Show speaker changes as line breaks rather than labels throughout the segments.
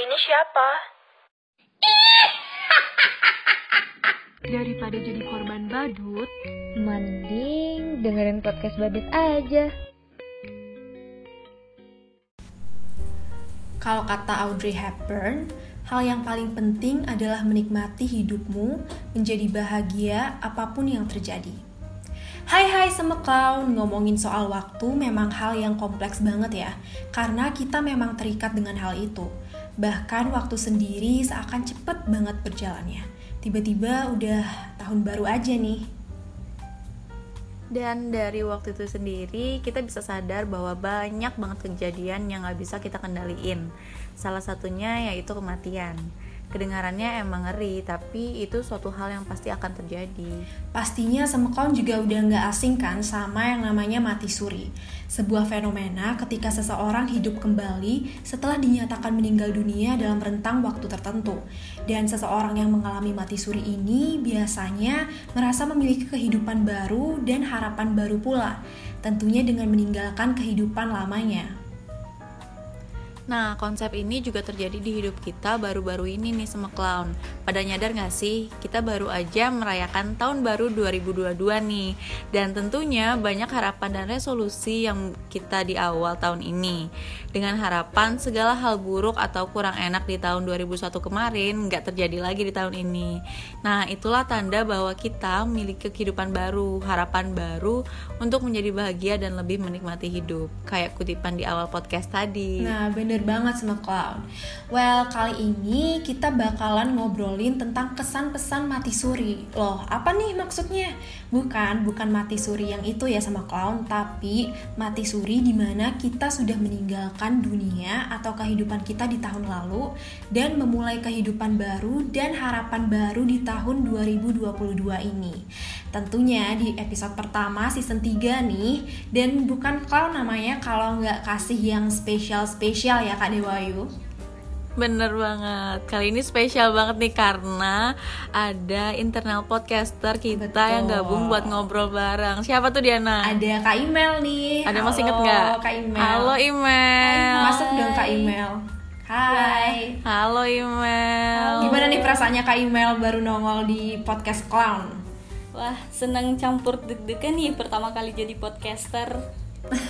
ini siapa?
Daripada jadi korban badut,
Mending dengerin podcast Badut aja.
Kalau kata Audrey Hepburn, hal yang paling penting adalah menikmati hidupmu, menjadi bahagia apapun yang terjadi. Hai hai semua clown, ngomongin soal waktu memang hal yang kompleks banget ya, karena kita memang terikat dengan hal itu. Bahkan waktu sendiri seakan cepet banget berjalannya. Tiba-tiba udah tahun baru aja nih.
Dan dari waktu itu sendiri kita bisa sadar bahwa banyak banget kejadian yang nggak bisa kita kendaliin. Salah satunya yaitu kematian. Kedengarannya emang ngeri, tapi itu suatu hal yang pasti akan terjadi.
Pastinya semekon juga udah nggak asing kan sama yang namanya mati suri. Sebuah fenomena ketika seseorang hidup kembali setelah dinyatakan meninggal dunia dalam rentang waktu tertentu. Dan seseorang yang mengalami mati suri ini biasanya merasa memiliki kehidupan baru dan harapan baru pula. Tentunya dengan meninggalkan kehidupan lamanya.
Nah, konsep ini juga terjadi di hidup kita baru-baru ini nih sama clown. Pada nyadar nggak sih, kita baru aja merayakan tahun baru 2022 nih. Dan tentunya banyak harapan dan resolusi yang kita di awal tahun ini. Dengan harapan segala hal buruk atau kurang enak di tahun 2001 kemarin nggak terjadi lagi di tahun ini. Nah, itulah tanda bahwa kita memiliki kehidupan baru, harapan baru untuk menjadi bahagia dan lebih menikmati hidup. Kayak kutipan di awal podcast tadi.
Nah, bener banget sama clown. Well, kali ini kita bakalan ngobrolin tentang kesan pesan mati suri. Loh, apa nih maksudnya? Bukan, bukan mati suri yang itu ya sama clown, tapi mati suri di mana kita sudah meninggalkan dunia atau kehidupan kita di tahun lalu dan memulai kehidupan baru dan harapan baru di tahun 2022 ini. Tentunya di episode pertama season 3 nih Dan bukan clown namanya kalau nggak kasih yang spesial-spesial spesial ya Kak Dewayu.
Bener banget, kali ini spesial banget nih karena ada internal podcaster kita
Betul.
yang gabung buat ngobrol bareng Siapa tuh Diana?
Ada Kak Email nih.
Ada masih inget
Halo,
nggak?
Kak Email.
Halo Email
Masuk dong Kak Email. Hai.
Halo Email
Gimana nih perasaannya Kak Email baru nongol di podcast clown?
Wah, seneng campur deg-degan nih pertama kali jadi podcaster.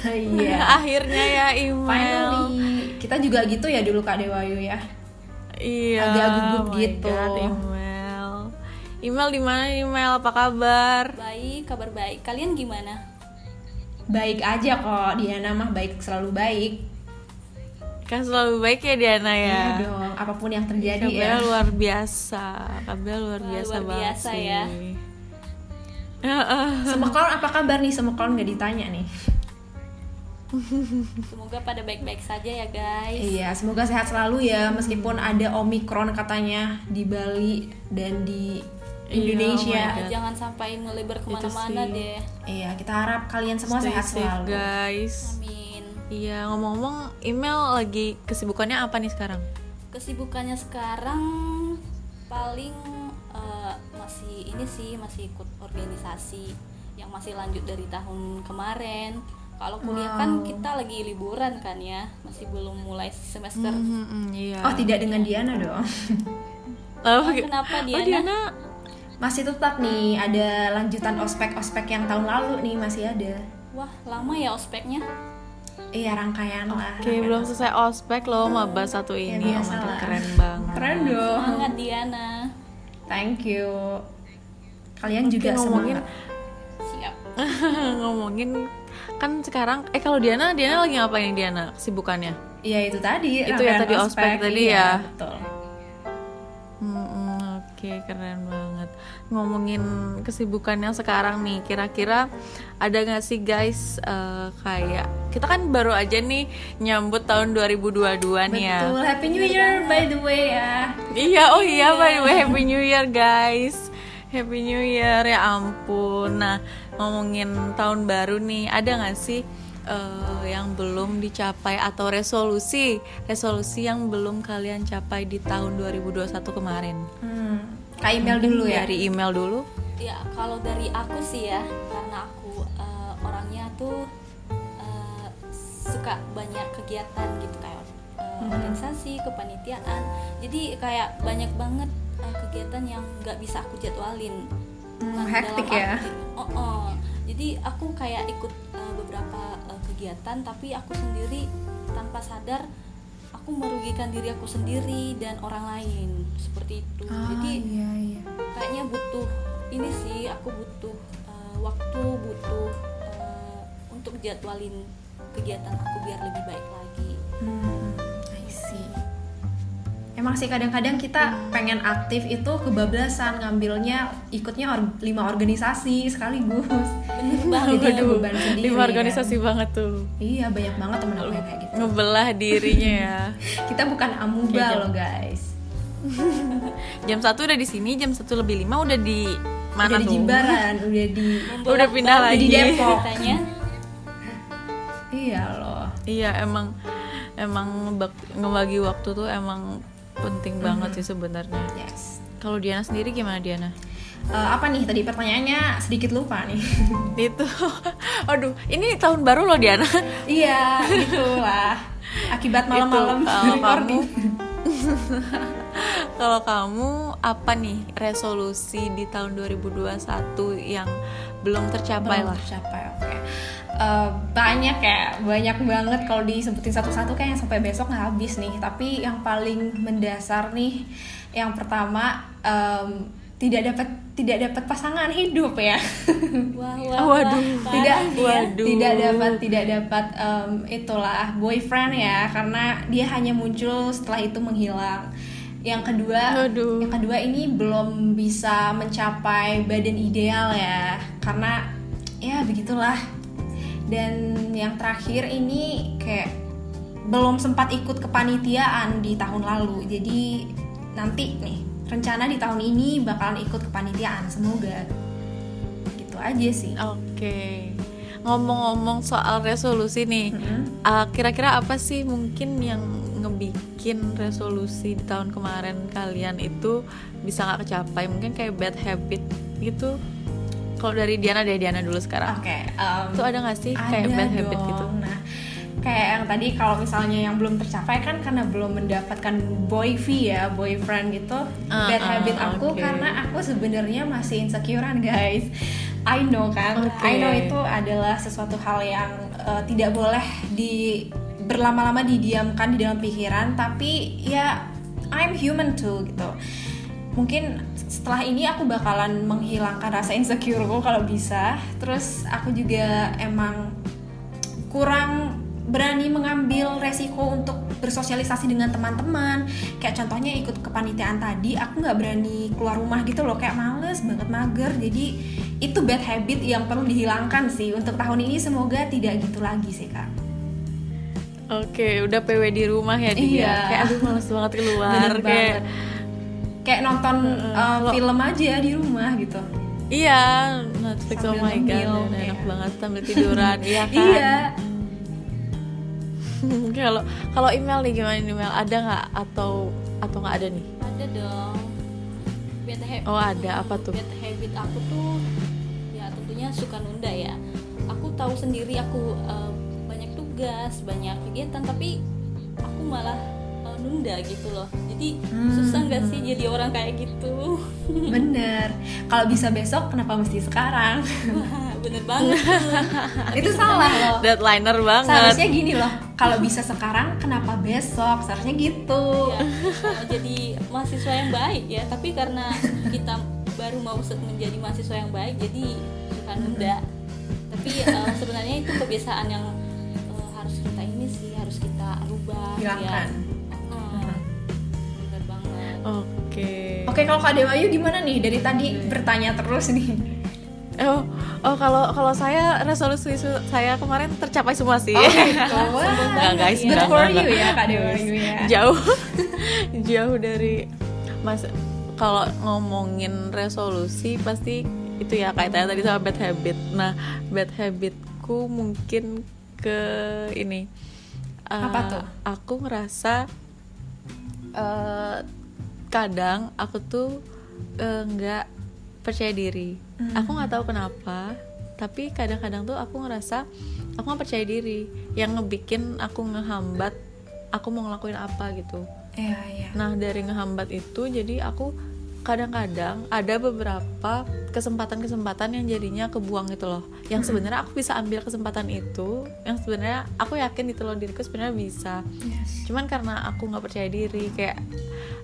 Iya.
Akhirnya ya Email
Finally, kita juga gitu ya dulu Kak Dewayu ya.
Iya
Agak gugup
oh my
gitu.
God, Email Email di mana Email? Apa kabar?
Baik, kabar baik. Kalian gimana?
Baik aja kok, Diana mah baik selalu baik.
Kan selalu baik ya Diana ya.
Iya dong, apapun yang terjadi ya.
Kabarnya luar biasa. Kabarnya luar
Wah,
biasa
Iya. luar
banget
biasa
sih.
ya.
Heeh.
Sama clown apa kabar nih? Sama clown nggak ditanya nih.
Semoga pada baik-baik saja ya guys.
Iya, semoga sehat selalu ya
Hmm.
meskipun ada omikron katanya di Bali dan di
Iya, oh my
Indonesia.
God.
Ya, Jangan sampai ngelebar kemana-mana
sih.
deh.
Iya, kita harap kalian semua
Stay
sehat
safe,
selalu.
guys.
Amin.
Iya, ngomong-ngomong, email lagi kesibukannya apa nih sekarang?
Kesibukannya sekarang paling eh, masih ini sih masih ikut organisasi yang masih lanjut dari tahun kemarin. Kalau kuliah kan kita lagi liburan kan ya, masih belum mulai semester.
Mhm, iya.
Oh, tidak dengan Diana dong.
Oh,
Kenapa
oh,
Diana?
Diana
Masih tetap nih ada lanjutan ospek-ospek yang tahun lalu nih masih ada.
Wah, lama ya ospeknya.
Iya, rangkaian lah.
Oke, belum selesai ospek loh maba satu
Ya,
ini. oh
biasa
my God,
lah.
keren banget.
Keren dong.
Semangat Diana.
Thank you. Kalian juga
Oke, ngomongin-
semangat.
Siap.
ngomongin kan sekarang eh kalau Diana Diana lagi ngapain Diana kesibukannya?
Iya, itu tadi.
Itu
rangkaian
ya tadi ospek tadi
Iya,
ya.
Betul.
Hmm, Oke, keren banget. Ngomongin kesibukannya sekarang nih, kira-kira ada nggak sih guys eh, kayak kita kan baru aja nih nyambut tahun 2022 nih ya.
Betul. Happy New Year by the way ya.
Iya, oh iya by the way Happy New Year guys. Happy New Year ya ampun. Nah, ngomongin tahun baru nih, ada nggak sih eh, yang belum dicapai atau resolusi resolusi yang belum kalian capai di tahun 2021 kemarin?
Hmm. Kak email dulu ya.
dari email dulu
Ya, kalau dari aku sih ya, karena aku eh, orangnya tuh eh, suka banyak kegiatan gitu kayak eh, eh,
Hmm.
organisasi kepanitiaan jadi kayak banyak banget eh, kegiatan yang nggak bisa aku jadwalin Bukan
hektik
dalam
ya.
arti- Oh, oh. jadi aku kayak ikut eh, beberapa eh, kegiatan tapi aku sendiri tanpa sadar aku merugikan diri aku sendiri dan orang lain seperti itu
Ah,
jadi
iya, iya.
kayaknya butuh ini sih aku butuh eh, waktu butuh eh, untuk jadwalin kegiatan aku biar lebih baik lagi
Hmm, I see. Emang sih kadang-kadang kita pengen aktif itu kebablasan ngambilnya ikutnya or- lima organisasi sekaligus.
bener
Jadi
banget
ada beban sendiri.
Lima
kan?
organisasi banget tuh
Iya banyak banget temen aku yang kayak gitu.
Ngebelah dirinya ya
Kita bukan amuba
Iya,
loh guys.
Jam 1 udah di sini, jam 1 lebih 5 udah di mana
udah di
tuh?
Jimbaran, udah di
Udah pindah
Jadi
lagi
Depok.
Ceritanya,
Iya loh.
Iya emang emang ngebag- ngebagi waktu tuh emang penting
Mm-hmm.
banget sih sebenarnya.
Yes.
Kalau Diana sendiri gimana Diana?
Eh, apa nih tadi pertanyaannya sedikit lupa nih.
Itu, aduh, ini tahun baru loh Diana.
iya, itulah. Akibat malam-malam
Itu, kalau
recording.
Kalau kamu apa nih resolusi di tahun 2021 yang belum tercapai lah?
Siapa ya? Oke. Eh, banyak ya, banyak banget kalau disebutin satu-satu kayaknya sampai besok nggak habis nih. Tapi yang paling mendasar nih, yang pertama em, tidak dapat tidak dapat pasangan hidup ya.
wah, wah,
Oh,
wah,
waduh.
parah
tidak
dia.
Waduh.
tidak dapat tidak dapat em, itulah boyfriend ya karena dia hanya muncul setelah itu menghilang. Yang kedua,
Waduh.
yang kedua ini belum bisa mencapai badan ideal ya karena ya begitulah. Dan yang terakhir ini kayak belum sempat ikut kepanitiaan di tahun lalu. Jadi nanti nih rencana di tahun ini bakalan ikut kepanitiaan semoga. Gitu aja sih.
Oke, ngomong-ngomong soal resolusi nih,
Mm-mm.
ah, kira-kira apa sih mungkin yang ngebikin resolusi di tahun kemarin kalian itu bisa nggak kecapai? Mungkin kayak bad habit gitu. Kalau dari Diana dari Diana dulu sekarang.
Oke. em,
Itu ada nggak sih
Ah.
kayak
ada
bad habit
dong.
gitu?
Nah, kayak yang tadi kalau misalnya yang belum tercapai kan karena belum mendapatkan boyfriend ya, boyfriend gitu.
Ah,
bad
ah,
habit aku
oke.
karena aku sebenarnya masih insecurean, guys. I know kan.
Oke.
I know itu adalah sesuatu hal yang eh, tidak boleh di berlama-lama didiamkan di dalam pikiran, tapi ya I'm human too gitu. Mungkin setelah ini aku bakalan menghilangkan rasa insecureku kalau bisa. Terus aku juga emang kurang berani mengambil resiko untuk bersosialisasi dengan teman-teman kayak contohnya ikut kepanitiaan tadi aku nggak berani keluar rumah gitu loh kayak males banget mager jadi itu bad habit yang perlu dihilangkan sih untuk tahun ini semoga tidak gitu lagi sih kak
Oke, udah PW di rumah ya dia.
Iya.
Kayak aduh males banget keluar
Bener
kayak.
banget. kayak nonton uh,
kalau-
film aja di rumah gitu
Iya, Netflix
Sambil
oh my god,
ngemil,
dan enak
iya.
banget sambil tiduran, iya kan?
iya
Hmm, Kalau kalau email nih gimana nih, email ada nggak atau atau nggak ada nih?
ada dong bad habit
Oh, ada. Apa tuh?
bad habit aku tuh ya tentunya suka nunda ya aku tahu sendiri aku eh, banyak tugas banyak kegiatan tapi aku malah eh, nunda gitu loh jadi susah nggak sih
Hmm.
jadi orang kayak gitu
bener kalau bisa besok kenapa mesti sekarang
Wah, bener
Iya.
banget
itu salah loh
Deadliner banget.
seharusnya gini loh kalau bisa sekarang kenapa besok seharusnya gitu
ya kalau jadi mahasiswa yang baik ya tapi karena kita baru mau se- menjadi mahasiswa yang baik jadi suka nunda tapi eh, sebenarnya itu kebiasaan yang eh, harus kita ini sih harus kita rubah ya.
hilangkan
Heeh. bener banget
Oke.
Oke, kalau Kak Dewa Ayu gimana nih? Dari tadi bertanya terus nih.
Oh, oh kalau kalau saya resolusi su- saya kemarin tercapai semua sih. Enggak, guys,
Oh, gitu. Good
enggak,
for
enggak,
you ya,
enggak.
Kak Dewa Ayu ya.
jauh jauh dari mas kalau ngomongin resolusi pasti itu ya kaitannya tadi sama bad habit nah bad habitku mungkin ke ini Eh,
Apa tuh?
aku ngerasa eh, kadang aku tuh eh, nggak percaya diri
Hmm.
aku nggak tahu kenapa tapi kadang-kadang tuh aku ngerasa aku nggak percaya diri yang ngebikin aku ngehambat aku mau ngelakuin apa gitu
Iya, iya.
Nah dari ngehambat itu jadi aku kadang-kadang ada beberapa kesempatan-kesempatan yang jadinya kebuang gitu loh. Yang sebenarnya aku bisa ambil kesempatan itu, yang sebenarnya aku yakin gitu loh diriku sebenarnya bisa. Cuman karena aku nggak percaya diri kayak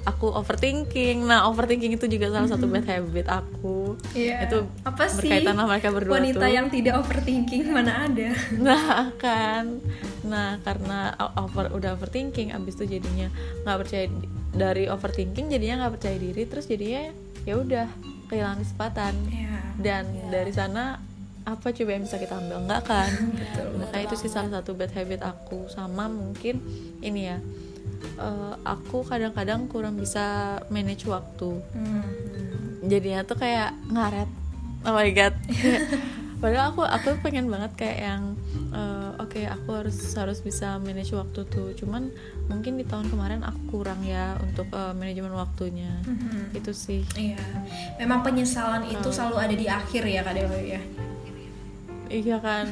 aku overthinking. Nah overthinking itu juga salah satu bad habit aku.
Iya.
Itu
apa sih?
berkaitan lah mereka berdua
wanita
tuh.
yang tidak overthinking mana ada?
Nah kan, nah karena o- over udah overthinking, abis itu jadinya nggak percaya di- dari overthinking jadinya nggak percaya diri, terus jadinya ya udah kehilangan kesempatan.
Iya.
Dan dari sana apa coba yang bisa kita ambil nggak kan? Makanya itu sih salah satu bad habit aku sama mungkin ini ya. eh, aku kadang-kadang kurang bisa manage waktu
Mm-hmm.
jadinya tuh kayak ngaret oh my god Kayak, padahal aku aku pengen banget kayak yang eh, oke aku harus harus bisa manage waktu tuh cuman mungkin di tahun kemarin aku kurang ya untuk eh, manajemen waktunya
Mm-hmm.
itu sih
Mm-hmm. Iya. Memang penyesalan itu
Hmm.
selalu ada di akhir ya Kak Dewi ya.
iya kan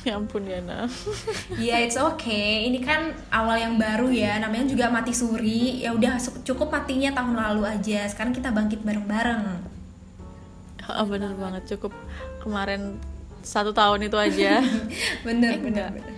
ya ampun Yana
Iya, it's okay. Ini kan awal yang baru ya. Namanya juga mati suri. Ya udah su- cukup matinya tahun lalu aja. Sekarang kita bangkit bareng-bareng.
Ah, bener banget cukup kemarin satu tahun itu
Iya.
aja
bener, bener, bener.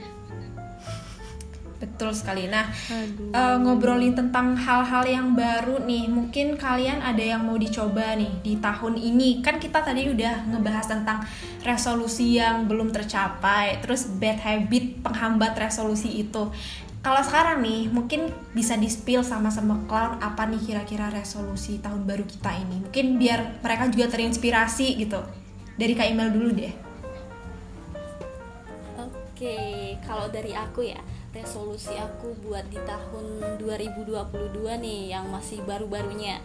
Betul sekali. Nah,
Aduh.
eh, ngobrolin tentang hal-hal yang baru nih. Mungkin kalian ada yang mau dicoba nih di tahun ini. Kan kita tadi udah ngebahas tentang resolusi yang belum tercapai, terus bad habit penghambat resolusi itu. Kalau sekarang nih, mungkin bisa di-spill sama-sama clown apa nih kira-kira resolusi tahun baru kita ini. Mungkin biar mereka juga terinspirasi gitu. Dari Kak Email dulu deh.
Oke, kalau dari aku ya, resolusi aku buat di tahun 2022 nih yang masih baru-barunya.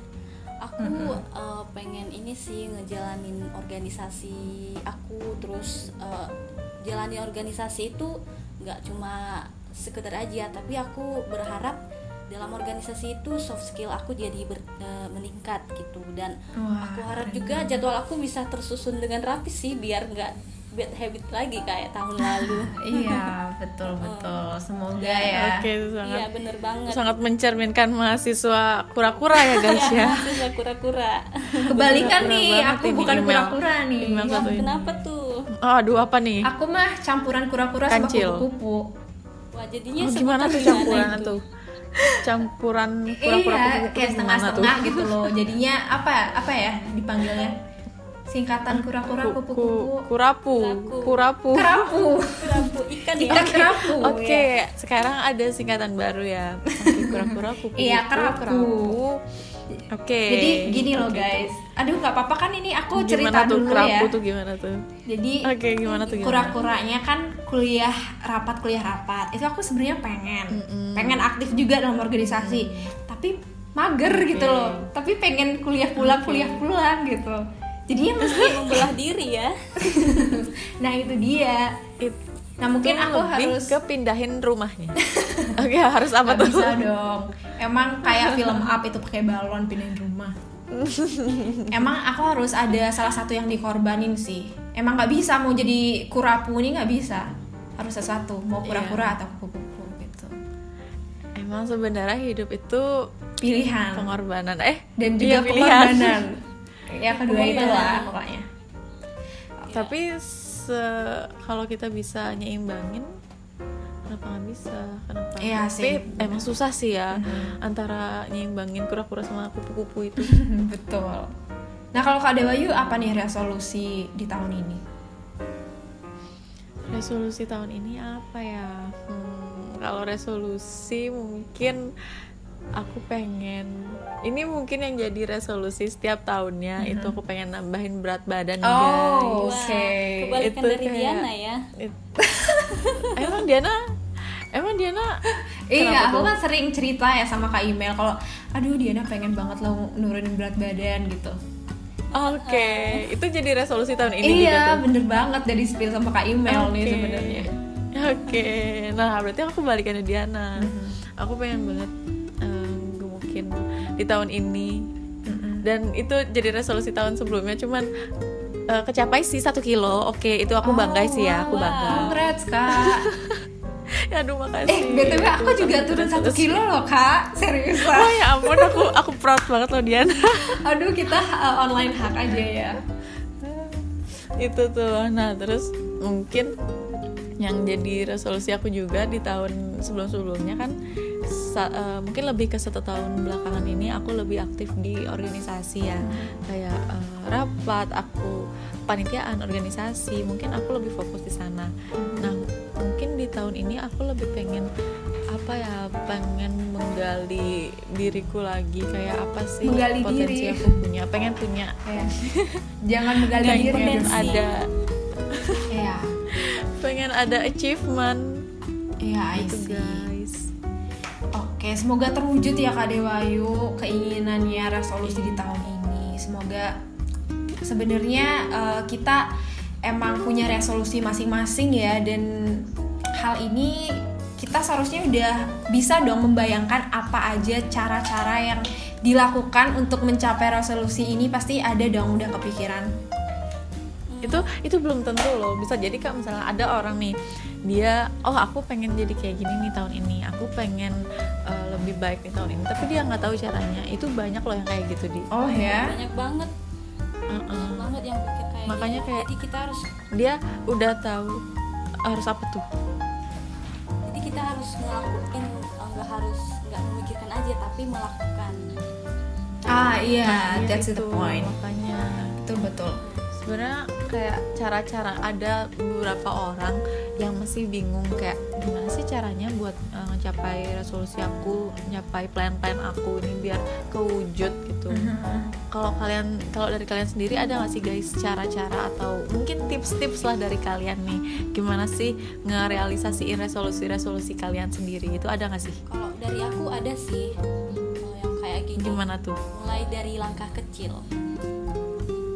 Aku eh, pengen ini sih ngejalanin organisasi aku terus eh, jalani organisasi itu nggak cuma sekedar aja, tapi aku berharap dalam organisasi itu soft skill aku jadi ber- eh, meningkat gitu dan
Wah,
aku harap
keren
juga jadwal aku bisa tersusun dengan rapi sih biar nggak bad habit lagi kayak tahun lalu
Iya, betul betul. Semoga
Iya, oke
ya.
sangat
iya bener banget
sangat mencerminkan mahasiswa kura-kura ya guys ya
Mahasiswa kura-kura
Kebalikan
Bener
nih,
banget
aku
ini
bukan
email.
kura-kura nih.
Email satu ini.
kenapa tuh
Aduh apa nih?
Aku mah campuran kura-kura sama
Kancil.
kupu-kupu.
wah
Iya,
jadinya
Oh,
sebutan
gimana tuh
gimana
campuran
itu?
tuh? Campuran kura-kura
Iya,
kupu-kupu tuh
kayak
gimana
setengah-setengah gitu loh. Jadinya apa apa ya dipanggilnya? Singkatan kura-kura
Ku- ku-
kupu-kupu.
Kurapu,
Kurapu.
kurapu.
Kerapu. ya.
kerapu ikan ya
Ikan kerapu.
Oke, sekarang ada singkatan baru ya. Oke, kura-kura kupu.
Iya, kerapu.
Oke.
Jadi gini loh guys. Aduh nggak apa-apa kan ini aku cerita
Gimana tuh
dulu
kerapu
ya.
tuh gimana tuh?
Jadi
Oke, gimana tuh gimana?
kura-kuranya kan kuliah rapat kuliah rapat itu aku sebenarnya pengen pengen aktif juga dalam organisasi tapi mager gitu loh tapi pengen kuliah pulang kuliah pulang gitu jadinya mesti
membelah diri ya
nah itu dia
Itu
nah mungkin aku
lebih
harus
ke pindahin rumahnya. Oke, harus apa
Nggak
tuh?
bisa dong emang kayak film up itu pakai balon pindahin rumah emang aku harus ada salah satu yang dikorbanin sih emang nggak bisa mau jadi kurapu ini nggak bisa harus sesuatu mau
Iya.
kura-kura atau kupu-kupu gitu
Emang sebenarnya hidup itu
pilihan
pengorbanan eh
Nah. dan
iya,
juga
pilihan.
pengorbanan ya kedua itu lah pokoknya
tapi se- kalau kita bisa nyimbangin kenapa nggak bisa kenapa
Iya
tapi
sih. Mm-hmm.
emang susah sih ya antara nyimbangin kura-kura sama kupu-kupu itu
betul nah kalau kak Dewa Yu apa nih resolusi di tahun ini
resolusi tahun ini apa ya Hmm, kalau resolusi mungkin aku pengen ini mungkin yang jadi resolusi setiap tahunnya itu aku pengen nambahin berat badan guys
oh oke
Wah, kebalikan
itu
dari
kayak-
Diana ya
It- emang Diana emang Diana
Iya,
Kenapa
aku
tuh?
kan sering cerita ya sama Kak Email kalau aduh Diana pengen banget lo nurunin berat badan gitu.
oke itu jadi resolusi tahun ini gitu. juga
iya,
tuh
bener banget dari spill sama Kak Email nih
Oke.
sebenarnya.
oke nah berarti aku balikannya Diana
Mm-hmm.
aku pengen banget eh, gemukin di tahun ini
Mm-hmm.
dan itu jadi resolusi tahun sebelumnya cuman eh,
Oh,
kecapai sih satu kilo oke itu aku bangga sih ya aku bangga
Congrats, Kak.
Aduh makasih.
Eh, BTW aku juga turun satu kilo loh, Kak.
Wah
Seriusan.
ya ampun aku aku proud banget loh Dian.
Aduh, kita uh, online hack aja ya.
itu tuh. Nah terus mungkin yang jadi resolusi aku juga di tahun sebelum-sebelumnya kan sa- eh, mungkin lebih ke satu tahun belakangan ini aku lebih aktif di organisasi ya kayak eh, rapat aku panitiaan organisasi mungkin aku lebih fokus di sana nah mungkin di tahun ini aku lebih pengen apa ya pengen menggali diriku lagi kayak apa sih
Menggali
potensi
diri.
aku punya pengen punya
Ya. Jangan menggali
pengen
diri.
pengen
Iya.
ada
Iya,
pengen ada achievement
iya, I
gitu
see.
guys
Oke, semoga terwujud ya Kak Dewayu keinginannya resolusi di tahun ini. Semoga sebenarnya eh, kita emang punya resolusi masing-masing ya dan hal ini kita seharusnya udah bisa dong membayangkan apa aja cara-cara yang dilakukan untuk mencapai resolusi ini pasti ada dong udah kepikiran.
itu itu belum tentu loh bisa jadi kak misalnya ada orang nih dia oh aku pengen jadi kayak gini nih tahun ini aku pengen uh, lebih baik nih tahun ini tapi dia nggak tahu caranya itu banyak loh yang kayak gitu di
Oh ya.
banyak banget
Uh-uh.
banyak banget yang pikir kayak
Makanya
gitu.
kayak-
jadi kita harus
dia udah tahu harus apa tuh
jadi kita harus ngelakuin eh, nggak harus nggak memikirkan aja tapi melakukan
Ah iya,
Ya,
that's
itu,
the point.
makanya
Betul betul.
sebenarnya kayak cara-cara ada beberapa orang yang masih bingung kayak gimana sih caranya buat eh, ngecapai resolusi aku ngecapai plan-plan aku ini biar kewujud gitu kalau kalian kalau dari kalian sendiri ada nggak sih guys cara-cara atau mungkin tips-tips lah dari kalian nih gimana sih ngerealisasiin resolusi-resolusi kalian sendiri itu ada nggak sih
kalau dari aku ada sih eh, yang kayak gini
gimana tuh
mulai dari langkah kecil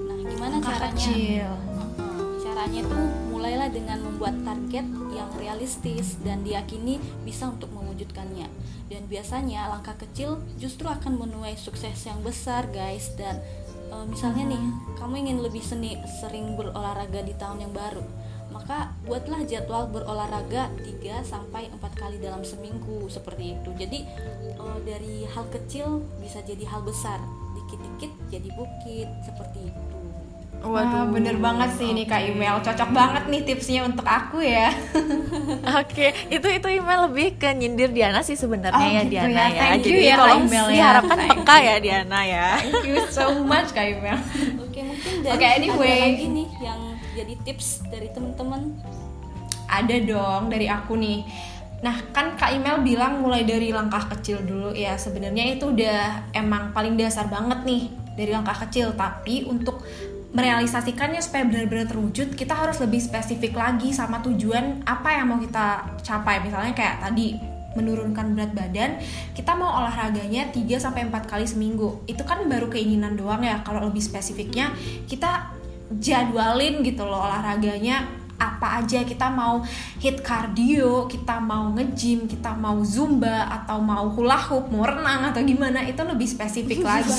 nah gimana
Langkah
caranya
kecil.
Mm-mm. caranya itu mulailah dengan membuat target yang realistis dan diyakini bisa untuk mewujudkannya dan biasanya langkah kecil justru akan menuai sukses yang besar guys dan eh, misalnya nih kamu ingin lebih seni sering berolahraga di tahun yang baru maka buatlah jadwal berolahraga 3 sampai 4 kali dalam seminggu seperti itu. Jadi eh, dari hal kecil bisa jadi hal besar, dikit-dikit jadi bukit seperti itu.
Wah, Ah, bener banget sih ini Kak Email. Cocok banget nih tipsnya untuk aku ya.
Oke, itu itu email lebih ke nyindir Diana sih sebenarnya
Oh,
ya
gitu ya.
Diana ya.
Thank you
Jadi
ya, Kak
tolong
Email ya.
diharapkan
Thank
peka ya Diana ya.
Thank you so much Kak Email.
Oke, mungkin dari
Oke, anyway.
ada lagi nih yang jadi tips dari teman-teman.
Ada dong dari aku nih. Nah, kan Kak Email bilang mulai dari langkah kecil dulu ya. Sebenarnya itu udah emang paling dasar banget nih dari langkah kecil, tapi untuk merealisasikannya supaya benar-benar terwujud, kita harus lebih spesifik lagi sama tujuan apa yang mau kita capai. Misalnya kayak tadi menurunkan berat badan, kita mau olahraganya 3 sampai 4 kali seminggu. Itu kan baru keinginan doang ya. Kalau lebih spesifiknya, kita jadwalin gitu loh olahraganya apa aja kita mau hit cardio, kita mau nge-gym, kita mau zumba atau mau hula hoop, mau renang atau gimana itu lebih spesifik lagi.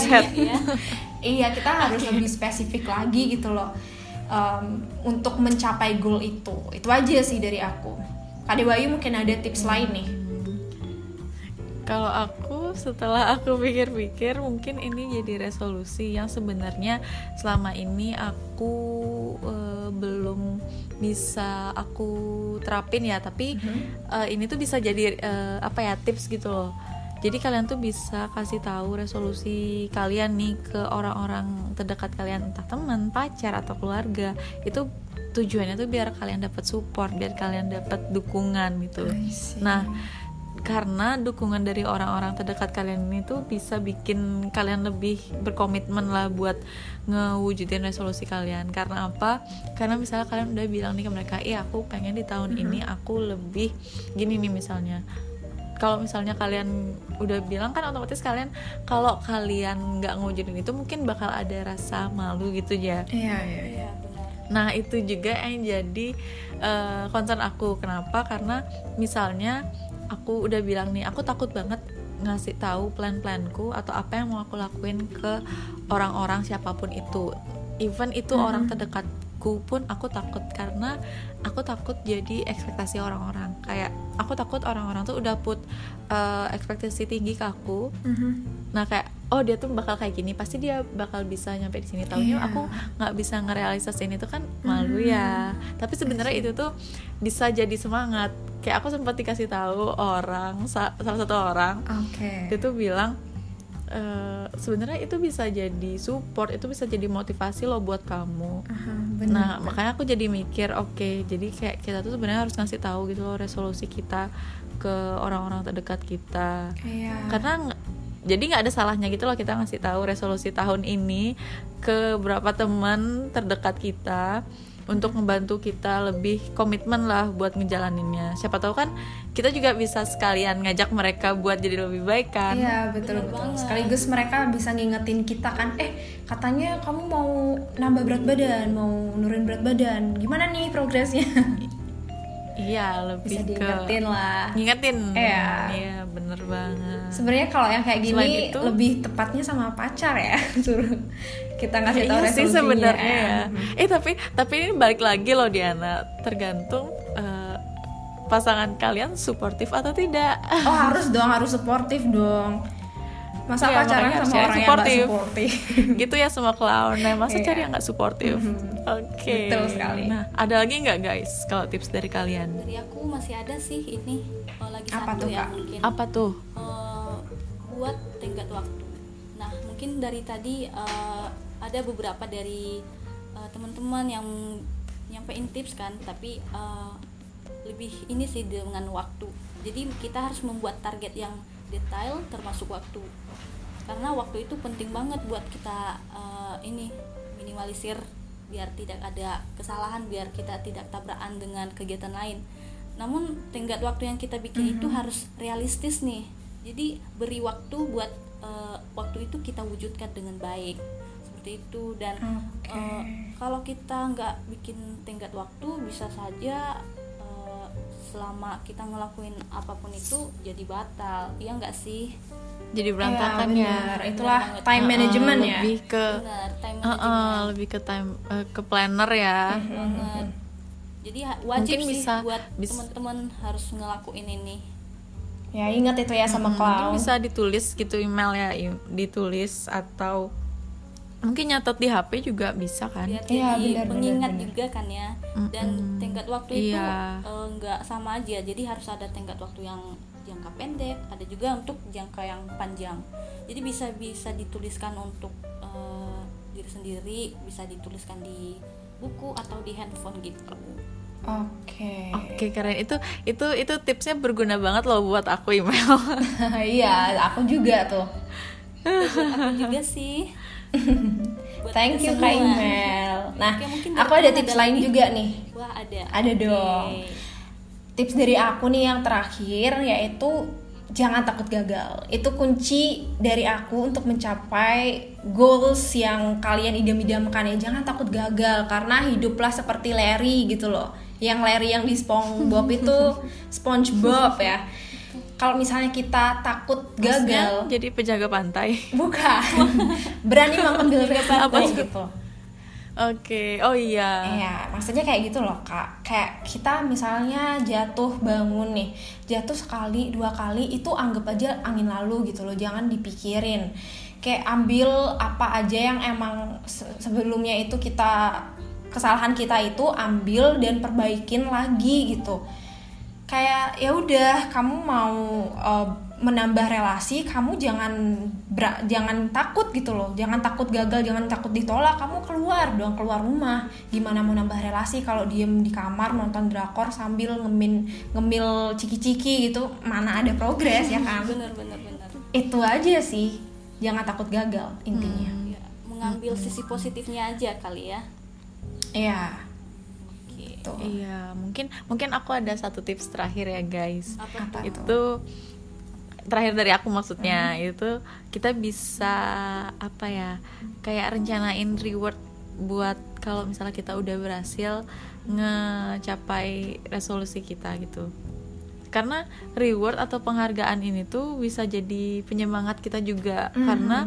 Ya.
Iya, kita harus lebih spesifik lagi gitu loh. um, untuk mencapai goal itu. Itu aja sih dari aku. Kak Dewayu mungkin ada tips lain nih.
Kalau aku setelah aku pikir-pikir mungkin ini jadi resolusi yang sebenarnya selama ini aku eh, belum bisa aku terapin ya, tapi eh, ini tuh bisa jadi eh, apa ya tips gitu loh. Jadi kalian tuh bisa kasih tahu resolusi kalian nih ke orang-orang terdekat kalian, entah teman, pacar atau keluarga. Itu tujuannya tuh biar kalian dapat support, biar kalian dapat dukungan gitu. Nah, karena dukungan dari orang-orang terdekat kalian ini tuh bisa bikin kalian lebih berkomitmen lah buat ngewujudin resolusi kalian. Karena apa? Karena misalnya kalian udah bilang nih ke mereka, "Iya, aku pengen di tahun ini aku lebih gini nih misalnya." Kalau misalnya kalian udah bilang kan otomatis kalian kalau kalian nggak ngewujudin itu mungkin bakal ada rasa malu gitu ya.
Iya, iya.
Iya, benar.
Nah, itu juga yang jadi eh, concern aku. Kenapa? Karena misalnya aku udah bilang nih, aku takut banget ngasih tahu plan-planku atau apa yang mau aku lakuin ke orang-orang siapapun itu. Even itu orang terdekatku diriku pun aku takut karena aku takut jadi ekspektasi orang-orang kayak aku takut orang-orang tuh udah put eh, ekspektasi tinggi ke aku nah kayak oh dia tuh bakal kayak gini pasti dia bakal bisa nyampe di sini tahunya
Iya.
aku nggak bisa ngerealisasin itu kan malu ya tapi sebenarnya itu tuh bisa jadi semangat kayak aku sempat dikasih tahu orang sa- salah satu orang
Oke.
dia tuh bilang "Eh, sebenarnya itu bisa jadi support itu bisa jadi motivasi lo buat kamu
Aha,
nah
benar.
makanya aku jadi mikir oke jadi kayak kita tuh sebenarnya harus ngasih tahu gitu loh resolusi kita ke orang-orang terdekat kita
Iya.
karena nggak- jadi nggak ada salahnya gitu loh kita ngasih tahu resolusi tahun ini ke berapa teman terdekat kita untuk membantu kita lebih komitmen lah buat ngejalaninnya. Siapa tahu kan kita juga bisa sekalian ngajak mereka buat jadi lebih baik kan.
Iya betul betul. Sekaligus mereka bisa ngingetin kita kan, eh katanya kamu mau nambah berat badan, mau nurunin berat badan, gimana nih progresnya?
Iya, lebih
Bisa
ke
diingetin lah.
ngingetin.
Iya.
Iya, bener banget.
Sebenarnya kalau yang kayak
Selain
gini
itu-
lebih tepatnya sama pacar ya, suruh kita ngasih tahu
Iya sih
resolusinya. Iya.
sebenarnya ya. Eh tapi tapi ini balik lagi loh Diana, tergantung eh, pasangan kalian suportif atau tidak.
Oh harus dong, harus suportif dong. Masa
Iya,
pacaran
makanya
sama
harusnya
orang yang gak
suportif.
suportif?
gitu ya semua clown nah masa
Iya. Mm-hmm.
cari yang nggak suportif oke
Betul sekali.
nah ada lagi nggak guys kalau tips dari kalian
dari aku masih ada sih ini eh, lagi
Apa tuh,
satu ya
Kak?
mungkin
apa tuh
Eh, buat tenggat waktu. Nah, mungkin dari tadi eh, ada beberapa dari eh, teman-teman yang nyampein tips kan, tapi eh, lebih ini sih dengan waktu. Jadi kita harus membuat target yang detail termasuk waktu. Karena waktu itu penting banget buat kita eh, ini minimalisir biar tidak ada kesalahan, biar kita tidak tabrakan dengan kegiatan lain. Namun tenggat waktu yang kita bikin itu harus realistis nih. Jadi beri waktu buat eh, waktu itu kita wujudkan dengan baik seperti itu dan
Oke.
eh, kalau kita nggak bikin tenggat waktu bisa saja eh, selama kita ngelakuin apapun itu jadi batal iya nggak sih
jadi
Iya,
berantakan ya
benar. Itulah time management
Eh,
ya.
lebih ke
benar time
eh, eh,
management
lebih ke time eh, ke planner ya
Mm-hmm.
banget jadi ha- wajib
Mungkin
sih
bisa-
buat
bis-
teman-teman harus ngelakuin ini
Ya ingat itu ya sama
mungkin
clown.
Hmm, bisa ditulis gitu email ya i- ditulis atau mungkin nyatet di HP juga bisa kan
biar
Iya,
jadi
benar,
pengingat
benar, benar.
juga kan ya dan
Mm-mm.
tenggat waktu itu
Iya.
eh, nggak sama aja jadi harus ada tenggat waktu yang jangka pendek ada juga untuk jangka yang panjang jadi bisa bisa dituliskan untuk eh, diri sendiri bisa dituliskan di buku atau di handphone gitu
Oke.
Oke keren itu itu itu tipsnya berguna banget loh buat aku email.
Iya, aku juga tuh.
aku juga sih Buat
Thank you Kak
kita semua.
Imel. Nah,
Oke, mungkin
aku
dari
ada
kamu
tips
ada
lain
lagi?
juga nih.
wah ada
Ada dong.
Oke.
Tips dari aku nih yang terakhir yaitu jangan takut gagal. Itu kunci dari aku untuk mencapai goals yang kalian idam-idamkan ya. Jangan takut gagal karena hiduplah seperti Larry gitu loh. Yang Larry yang di SpongeBob itu SpongeBob ya. Kalau misalnya kita takut gagal,
Jadi penjaga pantai.
bukan berani mengambil
Apa
resiko
tuh?
gitu.
Oke, oh iya.
Iya, maksudnya kayak gitu loh kak. Kayak kita misalnya jatuh bangun nih, jatuh sekali dua kali itu anggap aja angin lalu gitu loh, jangan dipikirin. Kayak ambil apa aja yang emang se- sebelumnya itu kita kesalahan kita itu ambil dan perbaikin lagi gitu. Kayak ya udah kamu mau eh, menambah relasi, kamu jangan bera- jangan takut gitu loh, jangan takut gagal, jangan takut ditolak, kamu keluar dong keluar rumah. Gimana mau nambah relasi kalau diem di kamar nonton drakor sambil ngemin ngemil ciki-ciki gitu, mana ada progres ya kan?
bener bener bener
Itu aja sih, jangan takut gagal intinya.
Hmm.
Ya, mengambil sisi positifnya aja kali ya
Iya, Gitu.
oke
tuh.
Iya, mungkin mungkin aku ada satu tips terakhir ya, guys.
apa
Apa tuh?
tuh?
Hmm.
Itu terakhir dari aku maksudnya itu kita bisa apa ya? Kayak rencanain reward buat kalau misalnya kita udah berhasil ngecapai resolusi kita gitu. Karena reward atau penghargaan ini tuh bisa jadi penyemangat kita
Hmm.
juga karena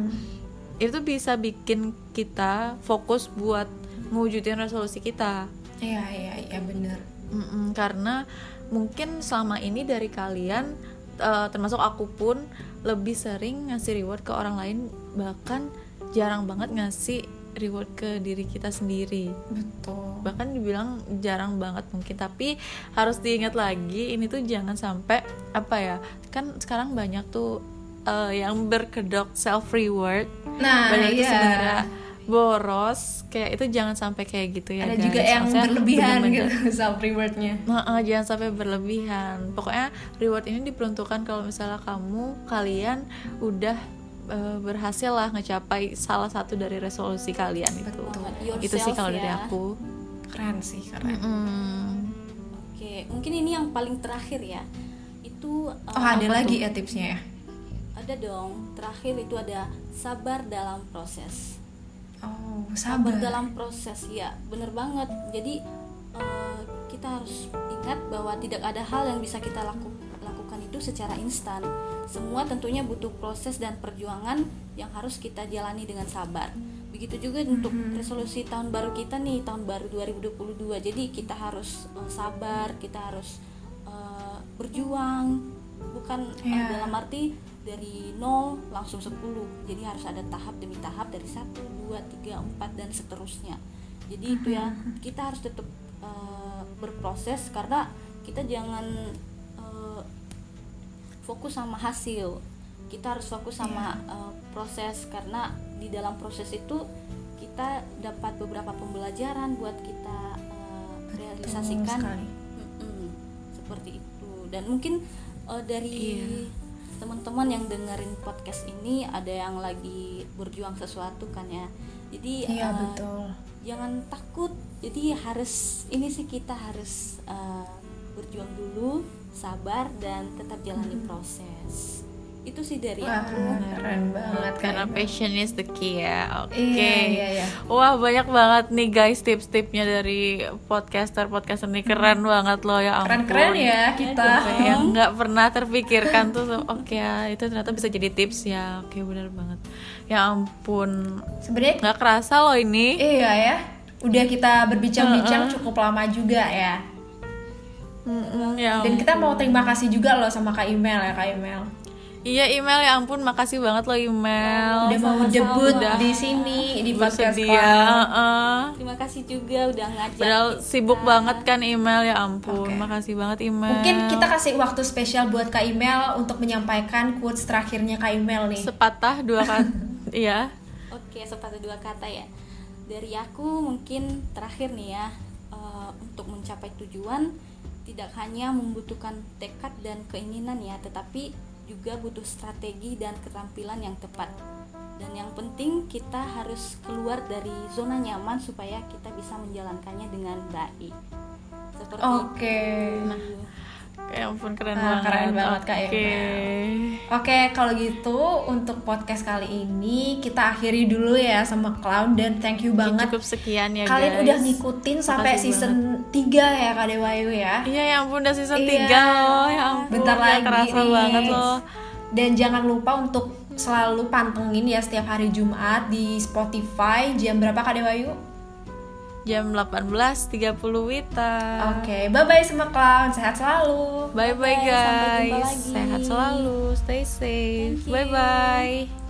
itu bisa bikin kita fokus buat ngewujudin resolusi kita.
Iya, iya, iya bener.
Mm-mm, karena mungkin selama ini dari kalian eh, termasuk aku pun lebih sering ngasih reward ke orang lain bahkan jarang banget ngasih reward ke diri kita sendiri
Betul.
bahkan dibilang jarang banget mungkin tapi harus diingat lagi ini tuh jangan sampai apa ya kan sekarang banyak tuh eh, yang berkedok self reward
Nah,
banyak itu
iya.
sebenarnya boros kayak itu jangan sampai kayak gitu ya
Ada
guys.
juga yang
Maksudnya
berlebihan
bener-bener-
gitu self rewardnya.
Nah, eh, jangan sampai berlebihan. Pokoknya reward ini diperuntukkan kalau misalnya kamu kalian udah eh, berhasil lah ngecapai salah satu dari resolusi kalian itu.
Betul.
Yourself
Gitu. Itu sih kalau dari
ya.
aku.
Keren sih, keren.
Mm.
Oke, mungkin ini yang paling terakhir ya. Itu eh,
Oh, ada
apa
lagi
tuh?
ya tipsnya ya?
Ada dong. Terakhir itu ada sabar dalam proses.
Oh, sabar.
Sabar dalam proses ya, bener banget. Jadi eh, kita harus ingat bahwa tidak ada hal yang bisa kita laku- lakukan itu secara instan. Semua tentunya butuh proses dan perjuangan yang harus kita jalani dengan sabar. Begitu juga untuk resolusi tahun baru kita nih, tahun baru 2022. Jadi kita harus eh, sabar, kita harus eh, berjuang bukan eh,
Iya.
dalam arti dari 0 langsung 10 jadi harus ada tahap demi tahap dari 1, 2, 3, 4 dan seterusnya jadi itu ya kita harus tetap eh, berproses karena kita jangan eh, fokus sama hasil kita harus fokus sama eh, proses karena di dalam proses itu kita dapat beberapa pembelajaran buat kita eh,
Betul
realisasikan
sekali.
Mm-mm, seperti itu dan mungkin eh, dari
Iya.
teman-teman yang dengerin podcast ini ada yang lagi berjuang sesuatu kan ya jadi
Iya,
eh,
betul.
jangan takut jadi harus ini sih kita harus eh, berjuang dulu sabar dan tetap jalani proses itu sih dari
Wah,
aku
keren banget
Karena
keren banget.
passion is the key ya. Oke.
gitu. Iya, iya, iya.
Wah banyak banget nih guys tips-tipsnya dari podcaster podcaster ini keren banget loh ya ampun.
Keren-keren ya kita.
Apa yang nggak pernah terpikirkan tuh so- oke ya itu ternyata bisa jadi tips ya oke benar banget ya ampun
Sebenarnya
nggak kerasa loh ini
Iya ya, udah kita berbincang-bincang cukup lama juga ya.
Mm, ya
Dan
ampun.
kita mau terima kasih juga loh sama Kak Imel ya Kak Imel.
iya email ya ampun makasih banget loh email
Udah mau debut
Udah
di sini di podcast
bersedia
Cloud.
heeh.
terima kasih juga udah ngajak
Padahal
kita.
sibuk banget kan email ya ampun
Iya. Oke.
makasih banget email
Mungkin kita kasih waktu spesial buat Kak Imel untuk menyampaikan quotes terakhirnya Kak Imel nih.
sepatah dua kali iya
Oke, sepatu dua kata ya. Dari aku mungkin terakhir nih ya, eh, untuk mencapai tujuan tidak hanya membutuhkan tekad dan keinginan ya, tetapi juga butuh strategi dan keterampilan yang tepat. Dan yang penting kita harus keluar dari zona nyaman supaya kita bisa menjalankannya dengan baik. Seperti
Oke.
itu.
ya ampun keren
Ah,
banget
keren banget, Kak
Oke.
Email. Oke, kalau gitu untuk podcast kali ini kita akhiri dulu ya sama Clown dan thank you
Mungkin
banget.
cukup sekian ya
Kalian
guys.
udah ngikutin sampai
Makasih
season 3 ya Kak Dewayu ya.
Iya ya ampun udah season
Iya.
3 loh ya ampun
Bentar
nggak
lagi
kerasa
nih.
banget loh
Dan jangan lupa untuk selalu pantengin ya setiap hari Jumat di Spotify jam berapa Kak Dewayu?
Eh. Jam 18.30 Wita
Oke, bye-bye semua clown, sehat selalu.
Bye bye
Bye, sampai jumpa
guys
lagi.
Sehat selalu Stay safe
Thank you.
Bye bye